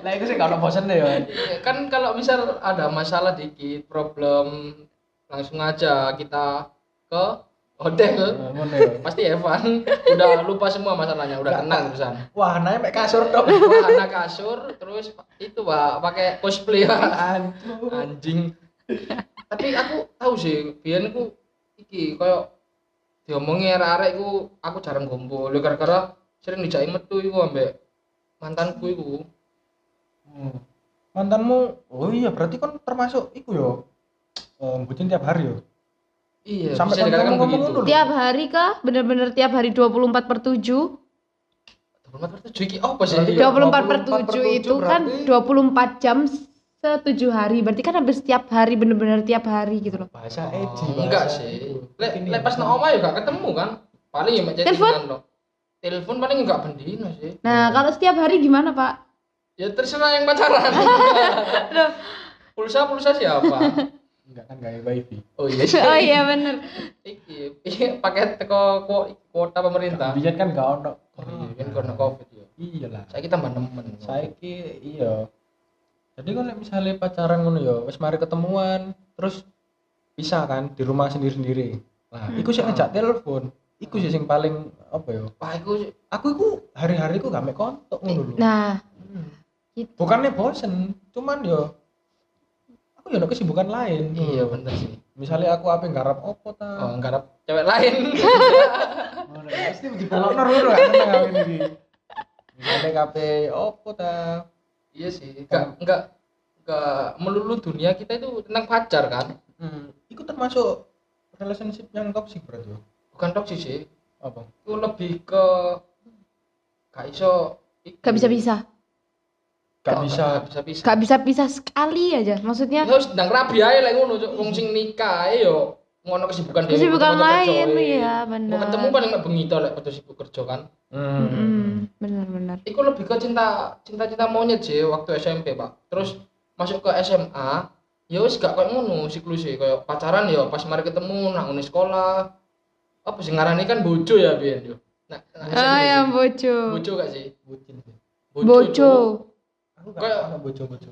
S2: lah itu sih kalau bosen deh ya
S1: Iya, kan kalau misal ada masalah dikit problem langsung aja kita ke hotel
S2: ngono ya
S3: Hmm.
S1: pasti Evan udah lupa semua masalahnya udah tenang terusan
S2: wah naik mek kasur dong
S1: Wah, anak kasur terus itu pak pakai cosplay Pak. anjing tapi aku tahu sih biar aku iki koyo diomongi arek-arek iku aku jarang kumpul Lho, gara-gara sering dijai metu iku ambek mantanku iku
S2: Hmm. mantanmu oh iya berarti kon termasuk iku yo eh, bucin tiap hari yo
S1: iya
S2: Sampai
S1: bisa dikatakan
S2: ngomong-ngomong
S1: begitu
S2: dulu.
S3: Tiap hari kah? Bener-bener tiap hari 24 per 7?
S1: 24 per 7 iki apa sih?
S2: Berarti
S3: 24 per
S2: 24 per
S3: 7 itu kan
S2: berarti-
S3: 24 jam setujuh hari. Berarti kan hampir setiap hari, bener-bener tiap hari gitu loh.
S2: bahasa
S1: Oh,
S2: Eji
S1: enggak
S2: bahasa
S1: sih.
S2: itu.
S1: Lek
S2: Ini
S1: lek
S2: ya.
S1: pas nang omah ya gak ketemu kan. Paling ya mek
S3: Telepon?
S1: chattingan loh. Telepon paling enggak bendino sih.
S3: Nah, kalau setiap hari gimana, Pak?
S1: Ya terserah yang pacaran. pulsa pulsa siapa?
S2: enggak kan gak wifi
S1: Oh iya.
S3: Oh iya bener.
S1: Iki iki paket teko ku- kuota pemerintah.
S2: biar kan gak ono
S1: Iya, Oh, Kan karena Covid ya.
S2: iya lah
S1: Saiki tambah nemen.
S2: saiki iya jadi kan lek misalnya pacaran ngono ya wis mari ketemuan terus bisa kan di rumah sendiri-sendiri lah iku sih ngejak telepon iku sih sing paling apa ya
S1: Wah, iku
S2: aku iku hari-hari iku gak mek kontok ngono lho
S3: Nah,
S2: bukannya bosen cuman yo aku yo ada kesibukan lain
S1: iya bener sih.
S2: misalnya aku apa ngarap opo ta
S1: Oh, enggak ada cewek lain.
S2: pasti dibalokno lho kan ngene iki misalnya kape opo ta
S1: iya sih. Enggak enggak enggak melulu dunia kita itu tentang pacar kan.
S2: hmm. iku termasuk relationship yang toxic berarti ya. yo
S1: Bukan toksik sih.
S2: apa
S1: itu lebih ke gak iso
S3: gak bisa pisah.
S2: gak bisa
S1: bisa bisa
S3: Gak bisa pisah sekali aja. Maksudnya
S1: ya wis ndang rabi ae lek ngono cuk wong sing nikah ae yo ngono kesibukan dhewe,
S3: Kesibukan
S1: foto-foto
S3: lain,
S1: kerja,
S3: iya,
S1: eh.
S3: bener.
S1: mau ketemu paling mek bengi to lek padha sibuk kerja kan
S3: Mm-mm, bener-bener.
S1: iku lebih ke cinta cinta cinta monyet sih waktu SMP pak terus masuk ke SMA ya wis gak kayak ngono siklusnya kayak pacaran ya pas mari ketemu nang uni sekolah apa sih ngarani kan bojo ya biyen yo nah, nah,
S3: Oh
S1: SMP.
S3: ya bojo.
S1: bojo gak sih
S2: bucin sih
S3: Bojo.
S1: Cuk.
S2: aku gak
S1: Kayak-
S2: ono bojo-bojo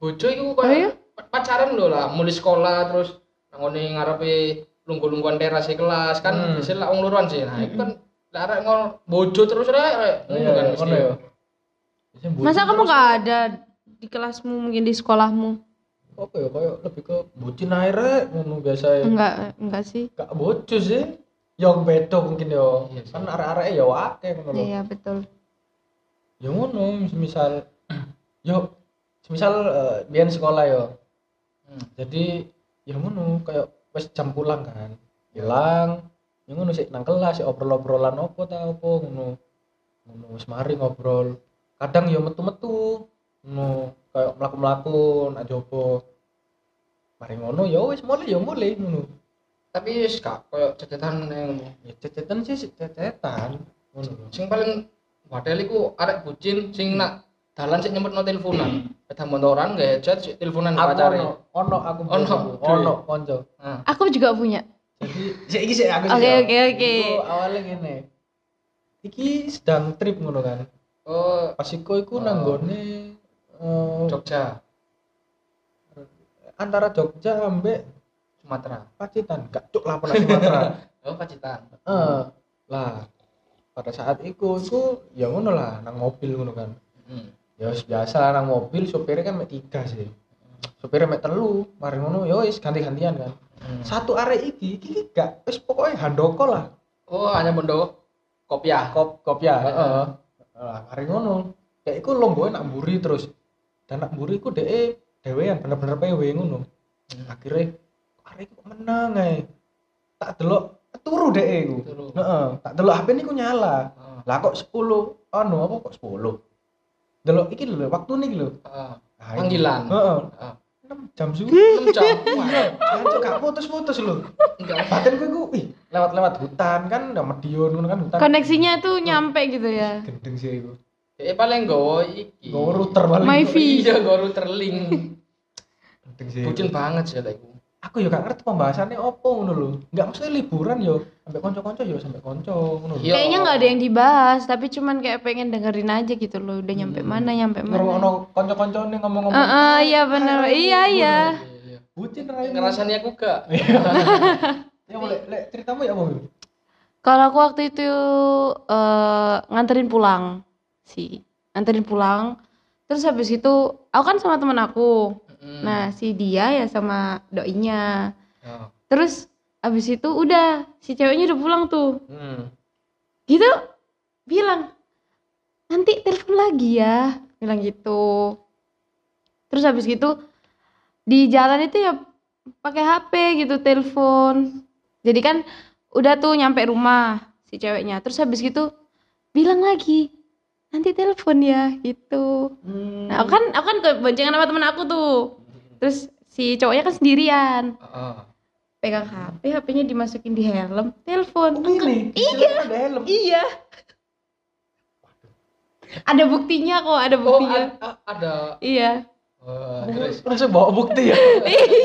S1: bojo iku
S3: Oh
S1: koyo
S3: iya?
S1: pacaran lho lah mulai sekolah terus ngone ngarepe lungguh-lungguhan teras di kelas
S2: Hmm.
S1: kan biasanya lah wong loroan sih nah iku kan lah arek ngono bojo terus rek rek ngono kan mesti
S2: yo Biasanya bucin
S3: Masa kamu
S2: terus.
S3: gak ada di kelasmu mungkin di sekolahmu?
S2: apa ya kayak lebih ke bucin ae rek ngono biasa ya
S3: Enggak, enggak sih.
S2: gak bojo sih yang beda mungkin yo
S1: Iya sih.
S2: kan arek-arek ya akeh ngono lho
S3: Iya, betul.
S2: ya ngono misal yo misal eh, biyen sekolah yo
S1: Hmm.
S2: jadi ya ngono kayak wes jam pulang kan pulang ya ngono sik nang kelas sik obrol-obrolan opo ta opo ngono ngono wis mari ngobrol kadang yo metu-metu ngono kayak mlaku-mlaku nak jopo mari ngono ya wis mulai ya mulai ngono
S1: tapi wis gak koyo cetetan yang
S2: ya cecetan sih sik cecetan ngono lho.
S1: sing paling wadel iku arek bucin sing nak dalan sik nyempetno teleponan ada motoran gak headset sik teleponan
S2: Hmm. aku
S1: pacare
S2: ono ono aku
S1: Ono,
S2: bojoku.
S1: dhewe.
S2: ono konco
S1: nah,
S3: Aku juga punya.
S2: jadi sik iki sik aku sik,
S3: Oke,
S2: ya.
S3: oke, oke.
S2: Iku awalnya ngene iki sedang trip ngono kan
S1: oh
S2: pas iku
S1: Oh.
S2: iku nanggone eh,
S1: Jogja
S2: antara Jogja ambek
S1: Sumatera
S2: Pacitan gak cuk lah pernah Sumatera
S1: oh pacitan
S2: Eh, lah pada saat itu itu ya ngono lah nang mobil ngono kan
S1: hmm.
S2: ya wis biasa nang mobil sopirnya kan mek tiga sih sopirnya mek telu mari ngono ya wis ganti-gantian kan
S1: Hmm.
S2: satu arek iki iki gak wis pokoknya handoko lah
S1: oh hanya bondo kopiah
S2: kop kopya
S1: Heeh.
S2: heeh lah mari ngono dek iku lomboe nak mburi terus dan nak mburi iku dek dhewean bener-bener PW ngono akhirnya arek kok menang ae tak delok turu dek iku
S1: Turu.
S2: heeh tak delok HP niku nyala
S1: Ah,
S2: lah kok 10 anu apa kok 10 delok iki lho waktu niki lho
S1: ah.
S2: Nah, iki.
S1: panggilan
S2: heeh
S1: Ah.
S2: 6 jam suwi
S1: enam jam Wah,
S2: Jancuk gak putus-putus lho.
S1: enggak
S2: Batin gue ih lewat-lewat hutan kan udah medion ngono kan hutan.
S3: koneksinya tuh nyampe gitu ya
S2: gendeng sih iku.
S1: ya paling gowo iki
S2: Gue router paling.
S3: Wifi.
S1: iya gowo router link
S2: Gendeng sih.
S1: bucin banget sih lah iku
S2: aku juga gak ngerti pembahasannya opo ngono lho. Enggak maksudnya liburan yo, sampai konco-konco yo sampai konco ngono lho.
S1: Iya.
S3: kayaknya nggak ada yang dibahas tapi cuman kayak pengen dengerin aja gitu loh udah nyampe mana nyampe mana
S2: Ngerungokno konco-koncone ngomong-ngomong.
S3: Heeh, iya bener iya iya
S1: Iya, iya.
S2: Bucin rai.
S1: ngerasani aku gak
S2: Ya boleh, lek ceritamu ya apa? Wil?
S3: kalau aku waktu itu eh, nganterin pulang sih nganterin pulang terus habis itu aku kan sama temen aku
S1: Mm.
S3: nah si dia ya sama doinya
S1: Oh.
S3: terus habis itu udah si ceweknya udah pulang tuh
S2: Hmm.
S3: gitu bilang nanti telepon lagi ya bilang gitu terus habis gitu di jalan itu ya pakai HP gitu telepon jadi kan udah tuh nyampe rumah si ceweknya terus habis gitu bilang lagi nanti telepon ya gitu nah aku kan aku kan keboncengan sama temen aku tuh terus si cowoknya kan sendirian
S1: Ah.
S3: pegang HP HP-nya dimasukin di helm telepon
S2: Pilih. Iya. Ada helm.
S3: Iya. Ada buktinya kok, ada
S1: oh
S3: buktinya.
S1: a- a- ada
S3: Iya.
S1: Wah, terus
S2: Terus langsung bawa bukti ya.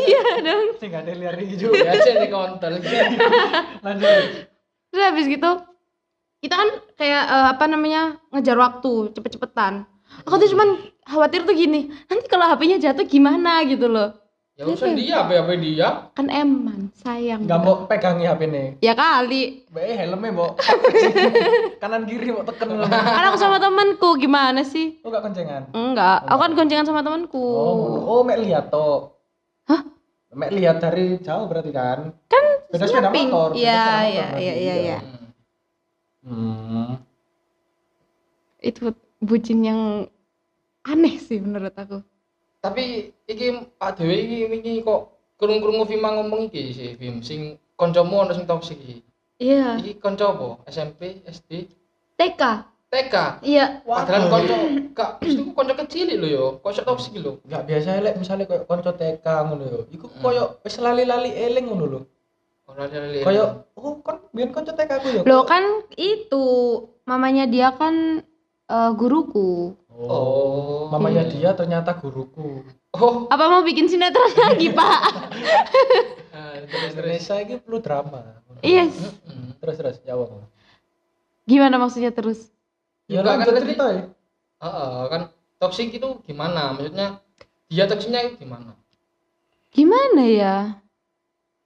S3: iya dong.
S2: Sing gak ada liar iki juga.
S1: ya sih di kontol
S2: Lanjut.
S3: Terus habis gitu kita kan kayak eh, apa namanya ngejar waktu cepet-cepetan. Aku tuh cuman khawatir tuh gini, nanti kalau HP-nya jatuh gimana gitu loh.
S1: ya usah dia apa apa dia
S3: Kan eman, sayang.
S2: Enggak mau pegangi HP nih.
S3: Ya kali.
S2: Bae eh, helmnya mau kanan kiri mau teken lho.
S3: Kan aku sama temanku gimana sih?
S2: Oh gak koncengan.
S3: Enggak, aku kan goncengan sama temanku.
S2: Oh, ngono. oh mek lihat to. Hah? Mek lihat dari jauh berarti kan?
S3: Kan
S2: Beda sepeda
S3: snapping.
S2: motor, beda
S3: Iya,
S2: sepeda motor
S3: iya,
S2: berarti,
S3: iya, iya,
S2: iya.
S3: iya.
S2: Hmm.
S3: Itu bucin yang aneh sih menurut aku.
S1: tapi iki Pak Dewi iki iki kok kerung-kerungu Vima ngomong iki sih Vim sing koncomu ono sing toksik iki
S3: Iya.
S1: iki konco apa SMP SD
S3: TK.
S1: TK
S3: Iya.
S1: padahal konco gak mesti ku konco kecil lho yo konco toksik lho
S2: Enggak biasa lek misalnya koyo konco TK ngono yo. Iku
S3: Hmm.
S2: koyo wis lali-lali eling ngono lho.
S1: ora
S2: Koyo oh kon biyen konco TK aku yo.
S3: Loh kan itu mamanya dia kan eh, guruku. kan-
S1: oh
S3: Hmm.
S2: Mamanya ya dia ternyata guruku.
S1: oh
S3: Apa mau bikin sinetron lagi, Pak?
S1: Ah, terus terus
S2: Indonesia ini perlu drama.
S3: Yes.
S1: Mm.
S2: Terus terus ya jawab.
S3: Iya, Gimana maksudnya terus?
S2: Ya
S1: Enggak,
S2: lanjut
S1: kan tadi-
S2: cerita ya.
S1: Heeh, kan toksik itu gimana maksudnya dia toksiknya itu gimana
S3: Gimana ya?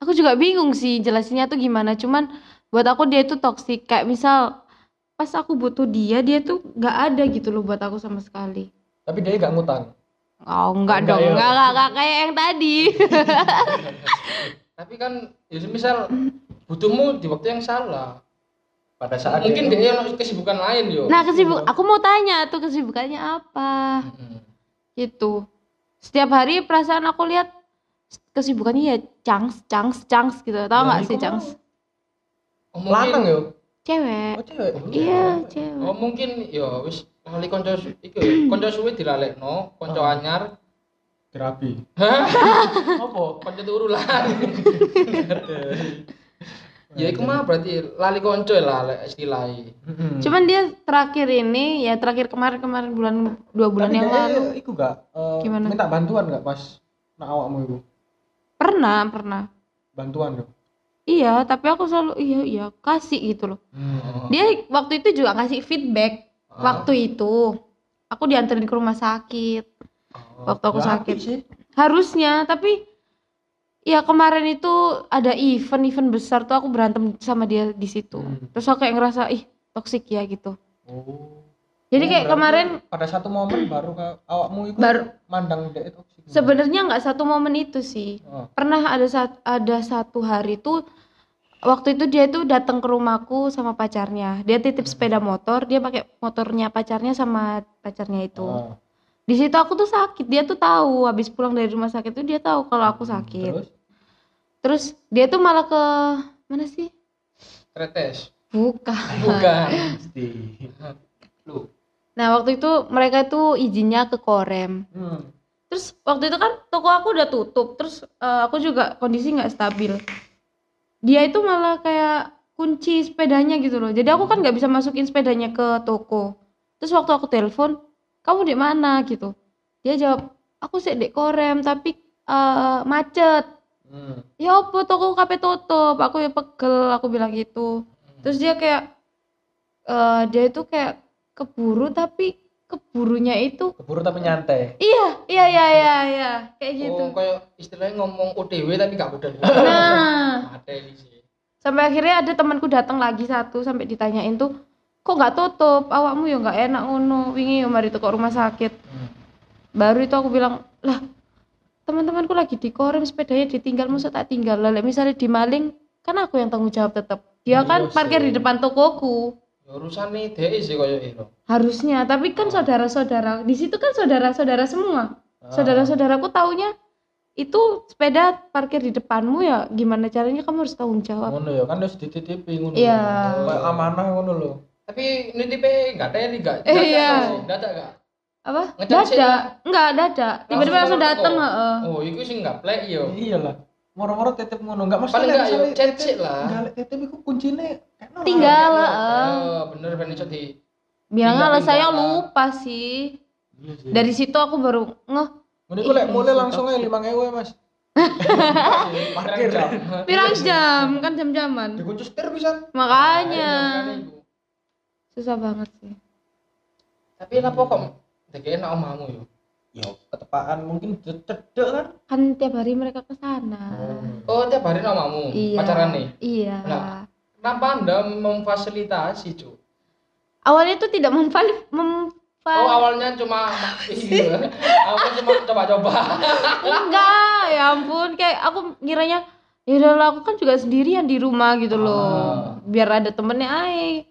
S3: Aku juga bingung sih jelasinnya tuh gimana. Cuman buat aku dia itu toksik. Kayak misal pas aku butuh dia, dia tuh nggak ada gitu loh buat aku sama sekali.
S2: Tapi dia gak ngutang.
S3: Oh, enggak,
S2: Enggak
S3: dong.
S2: ya.
S3: Enggak, enggak, enggak kayak yang tadi.
S1: tapi kan ya misal butuhmu di waktu yang salah
S2: Pada saat
S1: mungkin dia
S2: dia,
S1: ono kesibukan lain yo
S3: nah, kesibuk aku mau tanya tuh kesibukannya apa?
S1: Mm-mm.
S3: gitu setiap hari perasaan aku lihat kesibukannya ya cangs cangs cangs gitu
S2: Ya,
S3: tau nggak
S2: iku
S3: sih
S2: mau.
S3: cangs
S1: Oh,
S2: lanang
S1: mungkin
S2: yo.
S3: cewek
S2: Oh, cewek.
S3: iya cewek
S1: oh mungkin yo wis lali konco su- iku yo, konco suwe dilalekno konco
S2: Ah.
S1: anyar
S2: Terapi. Apa?
S1: konco turu lah ya iku mah berarti lali konco ya lah lek istilahnya
S3: cuman dia terakhir ini ya terakhir kemarin kemarin bulan dua bulan yang lalu
S2: Iku gak eh,
S3: Gimana?
S2: minta bantuan gak pas nak awakmu iku?
S3: pernah pernah
S2: Bantuan yo.
S3: iya tapi aku selalu iya iya kasih gitu loh
S2: Hmm.
S3: dia waktu itu juga ngasih feedback
S2: Ah.
S3: waktu itu aku dianterin ke rumah sakit waktu aku
S2: Ya,
S3: sakit
S2: apik sih.
S3: harusnya tapi Iya kemarin itu ada event event besar tuh aku berantem sama dia di situ.
S2: Hmm.
S3: Terus aku kayak ngerasa ih toksik ya gitu.
S2: Oh.
S3: Jadi
S2: Oh,
S3: kayak
S2: berarti
S3: kemarin
S2: pada satu momen baru ka- awakmu itu
S3: Baru-
S2: mandang dek toksik.
S3: sebenarnya nggak satu momen itu sih.
S2: Oh.
S3: Pernah ada sat- ada satu hari tuh waktu itu dia itu datang ke rumahku sama pacarnya. Dia titip
S2: Hmm.
S3: sepeda motor, dia pakai motornya pacarnya sama pacarnya itu.
S2: Oh.
S3: Di situ aku tuh sakit. Dia tuh tahu habis pulang dari rumah sakit tuh dia tahu kalau aku sakit.
S2: Hmm, Terus
S3: Terus dia tuh malah ke mana sih?
S1: Kretes.
S3: Bukan.
S1: Bukan.
S2: mesti.
S3: Nah, waktu itu mereka itu izinnya ke Korem.
S2: Hmm.
S3: Terus waktu itu kan toko aku udah tutup, terus eh, aku juga kondisi nggak stabil. Dia itu malah kayak kunci sepedanya gitu loh. Jadi aku kan nggak bisa masukin sepedanya ke toko. Terus waktu aku telepon, kamu di mana gitu. Dia jawab, aku sih di Korem tapi eh, macet.
S2: Hmm.
S3: ya apa toko kape tutup aku ya pegel aku bilang gitu
S2: Hmm.
S3: terus dia kayak eh, dia itu kayak keburu tapi keburunya itu
S2: Keburu tapi nyantai.
S3: iya iya iya iya iya kayak gitu
S1: Oh, kayak istilahnya ngomong OTW tapi gak modal.
S3: nah
S1: Materi sih.
S3: sampai akhirnya ada temanku datang lagi satu sampai ditanyain tuh kok nggak tutup awakmu ya nggak enak ngono wingi yo mari toko rumah sakit
S2: Hmm.
S3: baru itu aku bilang lah teman-temanku lagi di korem sepedanya ditinggal masa tak tinggal lah lek misalnya dimaling kan aku yang tanggung jawab tetap dia kan
S2: Iya
S3: parkir di
S2: sih.
S3: depan tokoku
S1: Ya urusan nih DE sih kayak itu.
S3: harusnya tapi
S1: Oh.
S3: kan saudara-saudara di situ kan saudara-saudara semua
S2: Ah.
S3: saudara-saudaraku taunya itu sepeda parkir di depanmu ya gimana caranya kamu harus tanggung
S1: Oh.
S3: jawab
S2: Ngono ya kan harus dititipi ngono.
S3: Iya.
S2: Kayak amanah ngono loh.
S1: Tapi nitipe gak teli gak.
S3: Eh, iya.
S1: Data gak.
S3: apa
S1: Ngecek sih,
S3: dada enggak dada tiba-tiba langsung
S1: langsung
S3: datang
S1: toko.
S3: heeh.
S1: Oh, iku sih gak plek
S2: Iya,
S1: yo.
S2: Iyalah. Moro-moro titip ngono enggak masalah.
S1: Paling gak yo
S2: misalnya
S1: cek
S2: titip-
S1: cek lah.
S2: Enggak titip iku kuncine. kena.
S3: tinggal heeh.
S1: Eh, bener bener cek di.
S3: bilang
S1: tinggal,
S3: lah saya
S1: tinggal.
S3: lupa sih
S2: Iya
S1: Hmm.
S2: sih.
S3: dari situ aku baru ngeh
S2: Ini kok lek
S3: Ih,
S1: Iya,
S2: mulai
S3: si
S2: langsung aja lima ngewe mas. Parkir.
S1: Jam.
S3: pirang jam kan jam-jaman
S2: Dikunci setir bisa.
S1: Nah,
S3: makanya
S1: iya, makanya iku.
S3: susah banget sih
S1: Tapi lapo kok dikene nak omahmu yo.
S2: Ya ketepaan mungkin cedek kan.
S3: kan tiap hari mereka ke sana
S1: Oh, tiap hari nak omahmu.
S3: iya
S1: Pacaran nih.
S3: iya
S1: Lah. Kenapa Anda memfasilitasi, Cuk?
S3: awalnya tuh tidak memvalid memval
S1: Oh awalnya cuma iya. Awalnya cuma coba-coba.
S3: enggak ya ampun kayak aku ngiranya ya udahlah aku kan juga sendirian di rumah gitu loh biar ada temennya ae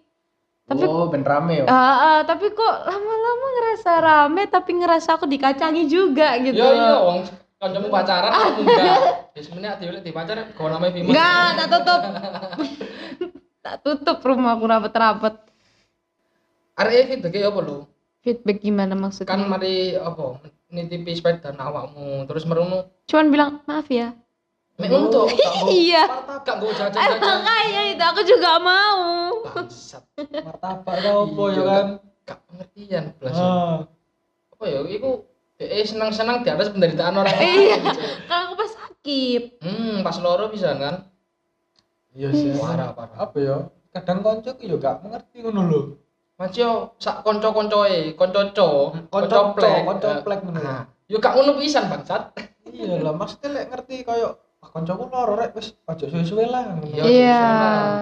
S3: tapi
S2: Oh ben rame ya.
S3: Ah, ah, tapi kok lama-lama ngerasa rame tapi ngerasa aku dikacangi juga gitu
S1: Yo yo
S3: loh
S1: wong kancamu pacaran aku enggak. Ya sebenarnya dia di pacaran kok namanya Bima.
S3: enggak tak tutup tak tutup rumahku rapat-rapat
S1: Arek feedback ya apa lu?
S3: feedback gimana maksudnya
S2: Hmm.
S1: Kan mari apa nitipi sepeda nang awakmu terus merungu.
S3: cuman bilang maaf ya
S2: Oh.
S1: Mek ngono to.
S3: iya
S1: Gak gue
S3: Eh,
S1: jajan-jajan.
S3: makanya itu aku juga mau
S1: Bangsat.
S2: Martabak tau apa
S1: Iya,
S2: ya kan.
S1: Gak ya. pengertian blas.
S2: Ah.
S1: Apa ya iku eh senang-senang di atas penderitaan orang.
S2: Eh.
S3: Iya. kan aku pas sakit
S1: Hmm, pas loro bisa kan?
S2: Iya sih.
S1: Parah, parah.
S2: Apa ya? Kadang konco ki yo gak mengerti ngono lho.
S1: Macio sak kanca-kancoe, kanca-co, kancoplek.
S2: Koncoplek, koncoplek ngono. lho.
S1: Ah, yo gak ngono pisan bangsat.
S2: Iya lah, maksudnya lek ngerti koyo ah kancaku loro rek wis ojo suwe-suwe lah ngono.
S1: Iya,
S3: Iya.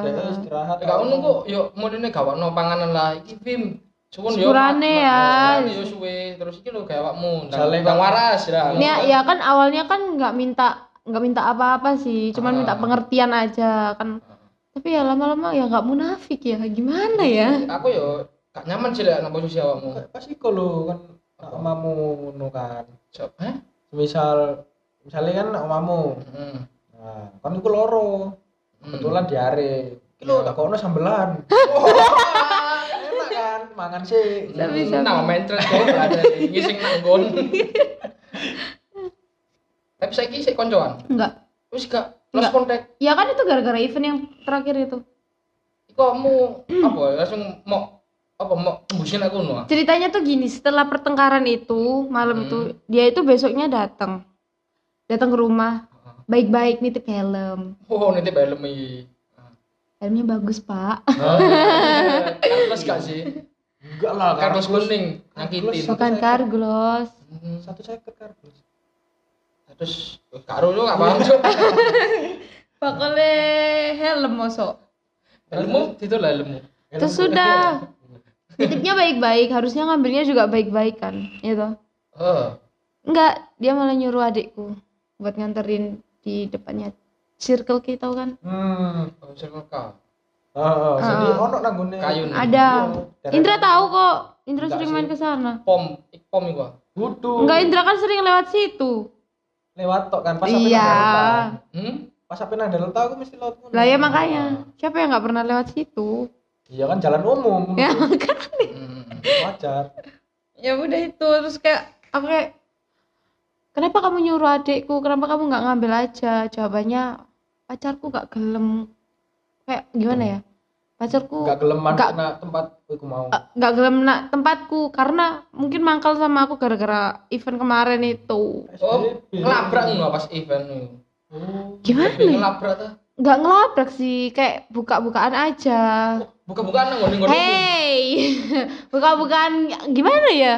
S2: Dek istirahat.
S1: Lek gak ngono kok yo modene gawakno panganan lah iki Bim. Suwun yo.
S3: Sepurane
S1: mak-
S3: ya.
S1: mak- Yo suwe terus iki lho gawe awakmu. Ndang-
S2: Jale
S1: ndang
S2: kok.
S1: waras lah.
S3: Ini ya- ya kan awalnya kan nggak minta nggak minta apa-apa sih, cuman
S1: Ah.
S3: minta pengertian aja kan. Tapi ya lama-lama ya nggak munafik ya, gimana ya?
S1: Aku yo gak nyaman sih lek nang posisi awakmu.
S2: Kayak pas iku lho kan nak omamu ngono kan.
S1: Jawab, Hah?
S2: Misal misalnya kan nak omamu.
S1: Hmm.
S2: Nah, kan iku loro. Kebetulan diare. Iki lho
S1: Iya.
S2: tak kono sambelan. Enak kan mangan sih.
S3: Sabi,
S1: Hmm,
S3: sabi.
S1: Nah, main terus kok ada ngising nang nggon. Tapi saiki sik koncoan.
S3: Nggak.
S1: Wis gak lost
S3: Nggak.
S1: kontak.
S3: Ya kan itu gara-gara event yang terakhir itu.
S1: Iku kamu apa langsung mau apa mau tembusin aku ah. no.
S3: Ceritanya tuh gini, setelah pertengkaran itu,
S1: Hmm.
S3: malam itu dia itu besoknya datang. Datang ke rumah,
S1: Heeh.
S3: baik-baik nitip helm.
S1: Oh nanti film ini.
S3: Helmnya bagus,
S1: Iya,
S3: Pak.
S1: Kartus gak sih?
S2: Enggak lah.
S1: Kartus
S2: kardus.
S1: kuning nyakitin.
S2: Satu
S3: Bukan
S2: second.
S3: karglos.
S1: Hmm,
S2: Satu saya ke kardus.
S1: terus karo lu gak paham cok
S3: bakale helm mosok
S1: ilmu itu lah ilmu
S3: terus sudah titipnya baik-baik harusnya ngambilnya juga baik-baik kan gitu
S1: oh
S3: enggak dia malah nyuruh adikku buat nganterin di depannya circle kita kan
S2: Hmm.
S1: oh, circle K
S2: Heeh, jadi
S3: Ah.
S2: ono nanggone.
S1: Kayu.
S3: ada
S2: Iya.
S3: Indra tahu kok
S1: Enggak
S3: Indra sering
S1: sih.
S3: main ke sana
S1: pom ik pom iku ah.
S2: Budu.
S3: enggak Indra kan sering lewat situ
S2: Lewat tok kan pas aku
S3: Iya.
S2: nang Delta.
S1: hmm
S2: Pas aku nang Delta aku mesti lewat ngono.
S3: lah ya makanya siapa yang nggak pernah lewat situ
S2: Iya kan jalan umum.
S3: ya kan
S1: Hmm.
S2: Wajar.
S3: ya udah itu terus kayak aku kayak kenapa kamu nyuruh adikku kenapa kamu nggak ngambil aja jawabannya pacarku gak gelem kayak gimana ya pacarku
S2: Enggak geleman
S3: Nggak-
S2: Kan kena tempat aku mau.
S3: eh, nggak gelem nak tempatku karena mungkin mangkal sama aku gara-gara event kemarin itu
S1: Oh,
S2: SBB.
S1: ngelabrak nggak pas event nih
S2: Oh.
S3: gimana
S1: Tapi
S3: ya?
S1: ngelabrak tuh
S3: nggak ngelabrak sih kayak buka-bukaan aja
S1: buka-bukaan nang ngono
S3: Eh. hey buka-bukaan gimana ya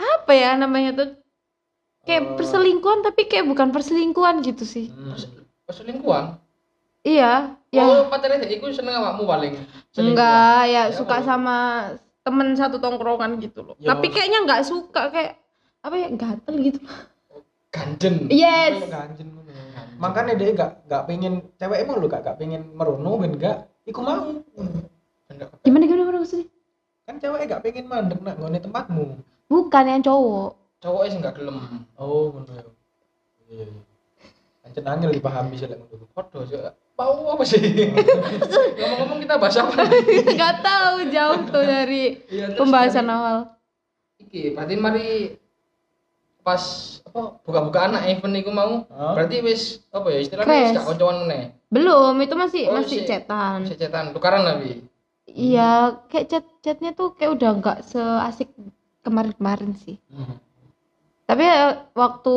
S3: apa ya namanya tuh kayak
S2: Eh.
S3: perselingkuhan tapi kayak bukan perselingkuhan gitu sih
S2: Hmm.
S1: selingkuhan
S3: iya ya
S1: oh pacarnya dia iku seneng awakmu paling Selingkuhan.
S3: enggak ya
S1: Ya,
S3: suka
S1: walau-
S3: sama temen satu tongkrongan gitu loh
S2: Ya,
S3: tapi kayaknya nggak suka kayak apa ya gatel gitu
S1: ganjen
S3: yes
S2: Kayak ganjen ngono. Makanya dia enggak enggak pengen cewek emang lu enggak enggak pengen merono ben enggak iku mau.
S3: gimana gimana gimana maksudnya
S2: Kan cewek enggak pengen mandek nak nggone tempatmu.
S3: bukan yang cowok
S1: cowoknya sih nggak gelem
S2: Oh, ngono ya. Iya, iya. Ancen angel dipahami sih lek ngono.
S1: waduh cok mau apa sih ngomong-ngomong kita bahas apa
S3: nggak tahu jauh tuh dari
S1: Iya, terus
S3: pembahasan
S1: tadi-
S3: awal
S1: iki berarti mari pas apa buka-bukaan anak event iku mau
S2: Hah?
S1: berarti wis apa ya istilahnya
S3: Crash.
S1: wis gak koncoan meneh
S3: belum itu masih
S1: Oh,
S3: masih
S1: sih.
S3: cetan
S1: Wis cetan tukaran lagi
S3: iya kayak chat chatnya tuh kayak udah nggak seasik kemarin-kemarin sih
S2: Hmm.
S3: tapi ya, waktu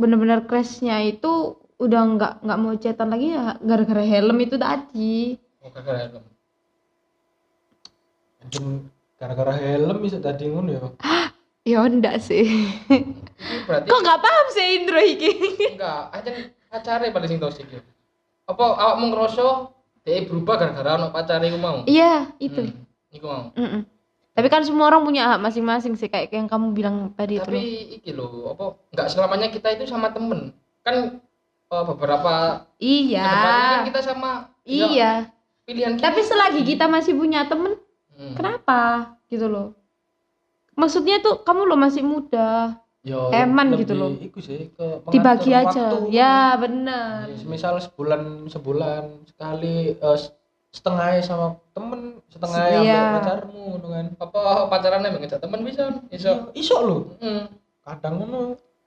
S3: bener-bener crashnya itu udah nggak nggak mau chatan lagi ya gara-gara helm itu tadi
S1: oh gara-gara helm
S2: Anjen gara-gara helm bisa tadi ngono ya.
S3: ya enggak sih
S1: Iki berarti
S3: kok iya? nggak paham sih Indro iki
S1: enggak aja pacare paling sing toksik ya. apa awakmu ngerasa dia berubah gara-gara anak pacare iku mau
S3: iya itu
S1: Hmm, iku mau
S3: Mm-mm. tapi kan semua orang punya hak masing-masing sih kayak yang kamu bilang tadi itu
S1: tapi iki lho apa enggak selamanya kita itu sama temen kan eh, beberapa kedepannya kan
S3: iya
S1: kita sama ya,
S3: iya
S1: pilihan kita
S3: tapi selagi kita masih punya temen
S1: Hmm.
S3: kenapa gitu loh maksudnya tuh kamu lo masih muda
S2: Ya,
S3: Eman gitu
S2: lebih
S3: loh.
S2: Iku sih ke pengatur
S3: dibagi aja
S2: waktu. gitu.
S3: ya bener
S2: Ya, semisal sebulan sebulan sekali eh, s- setengah sama temen setengah
S3: Iya.
S2: sama pacarmu gitu kan.
S1: apa pacarannya ngejak temen bisa
S2: Ya,
S1: iso
S2: iso lho.
S3: Iya.
S1: Hmm.
S2: Kadang ngono.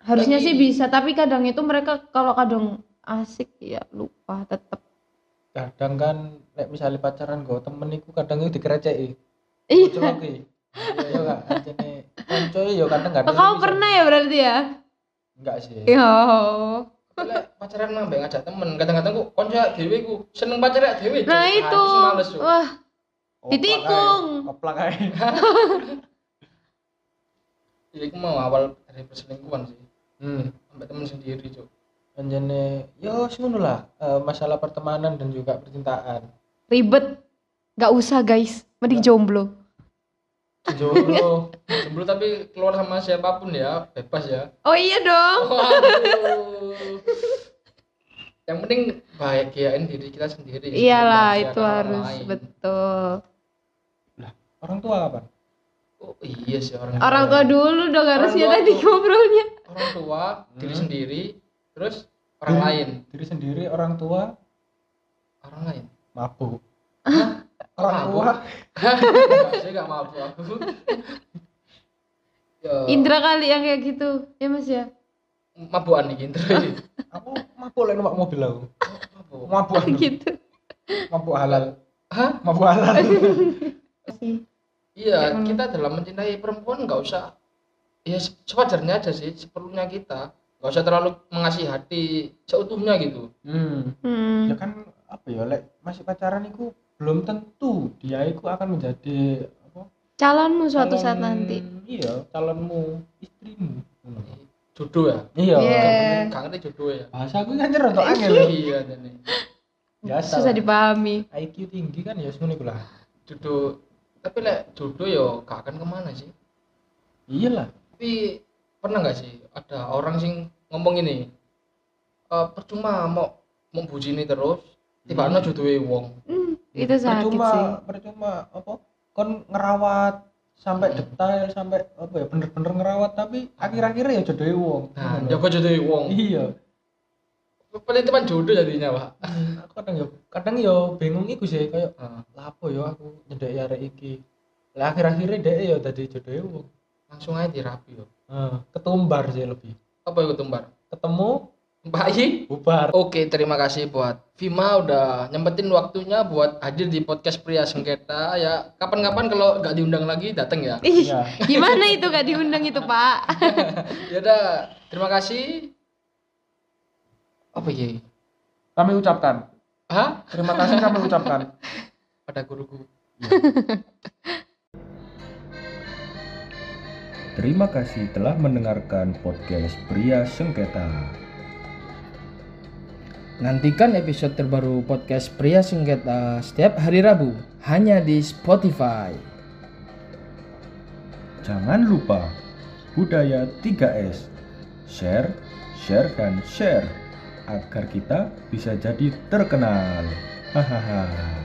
S3: harusnya
S1: Tapi-
S3: sih bisa tapi kadang itu mereka kalau kadang asik ya lupa tetep
S2: Kadang kan nek misalnya pacaran go temen iku kadang iku dikereceki.
S3: iya
S2: Coba iki. Iya gak anjene kanca ya kadang gak.
S3: Oh, kamu pernah Iya, ya berarti ya
S2: Enggak sih.
S3: yo
S1: Lek pacaran mah mbek ngajak temen, kadang-kadang kok konco awake dhewe ku seneng pacar awake dhewe.
S3: nah itu
S1: males yo.
S3: wah
S2: Oplak ae.
S3: ditikung
S2: Oplak ae.
S1: Jadi aku mau awal dari perselingkuhan sih,
S2: Hmm.
S1: sampai temen sendiri cuk.
S2: Anjene yo ngono lah eh, masalah pertemanan dan juga percintaan.
S3: ribet nggak usah guys mending jomblo
S2: Jomblo.
S1: Jomblo tapi keluar sama siapapun ya, bebas ya.
S3: oh iya dong
S1: Waduh. Yang penting bahagiain diri kita sendiri.
S3: iyalah
S1: Bahagiakan Iya,
S3: itu
S1: orang
S3: harus
S1: lain.
S3: betul
S2: Orang tua apa?
S1: Oh, iya sih orang.
S3: orang tua dulu dong harusnya
S1: tua
S3: tadi
S1: tuh.
S3: ngobrolnya
S1: Orang tua, diri
S2: Hmm.
S1: sendiri, terus orang
S2: Diri-
S1: lain.
S2: Diri sendiri, orang tua,
S1: Orang lain.
S2: mabuk.
S3: Ah.
S1: Mabuk.
S2: orang tua
S1: Enggak, saya enggak mabuk aku. Ya,
S3: Indra kali yang kayak gitu ya mas ya
S1: mabukan iki Indra iki.
S2: aku mabuk lain numpak mobil aku
S1: Mabuk.
S2: mabuk anu,
S3: gitu
S2: mabuk halal
S1: Hah?
S2: mabuk halal
S1: Iya,
S3: Kayak-
S1: kita dalam mencintai perempuan nggak usah ya se- sewajarnya aja sih, seperlunya kita nggak usah terlalu mengasihi hati seutuhnya gitu.
S2: hmm. ya
S3: hmm.
S2: kan apa ya lek masih pacaran itu belum tentu dia itu akan menjadi apa
S3: calonmu suatu saat
S2: calon-
S3: nanti
S2: iya calonmu istrimu Hmm.
S1: jodoh ya
S2: iya
S3: Iya.
S1: Gak ngerti jodoh ya
S2: bahasa aku kan cerah tuh angel
S1: iya ini
S2: biasa
S3: susah
S2: lah.
S3: dipahami
S2: IQ tinggi kan ya semuanya lah
S1: jodoh tapi lek jodoh ya gak akan kemana sih
S2: iyalah
S1: tapi pernah nggak sih ada orang sing ngomong ini "Eh, percuma mau mau bujini terus tiba tiba jodohe wong
S3: Hmm, itu sakit
S2: percuma
S3: sih
S2: percuma apa kon ngerawat sampai
S1: Hmm.
S2: detail sampai apa ya bener-bener ngerawat tapi akhir-akhirnya ya jodoh wong
S1: nah
S2: Ngono lho.
S1: jago jodohe wong
S2: iya
S1: penitipan jodoh jadinya pak
S2: aku kadang yo kadang yo bingung iku sih kayak
S1: Ah.
S2: lapo yo aku nyedeki arek iki lah akhir-akhirnya dek yo dadi jodoh wong
S1: langsung aja dirapi yo
S2: Ah, ketumbar sih lebih
S1: apa yang ketumbar
S2: ketemu
S1: Mbak Yi
S2: bubar
S1: Oke, terima kasih buat Vima udah nyempetin waktunya buat hadir di podcast Pria Sengketa ya. Kapan-kapan kalau nggak diundang lagi datang ya.
S3: Ih,
S2: Iya.
S3: gimana itu gak diundang itu pak
S1: Ya udah, terima kasih. Apa ya?
S8: Kami ucapkan.
S1: Hah?
S8: Terima kasih kami ucapkan.
S1: Pada guruku.
S9: Terima kasih telah mendengarkan podcast Pria Sengketa.
S10: Nantikan episode terbaru podcast Pria Sengketa setiap hari Rabu hanya di Spotify.
S9: Jangan lupa budaya 3S. Share, share dan share agar kita bisa jadi terkenal. Hahaha.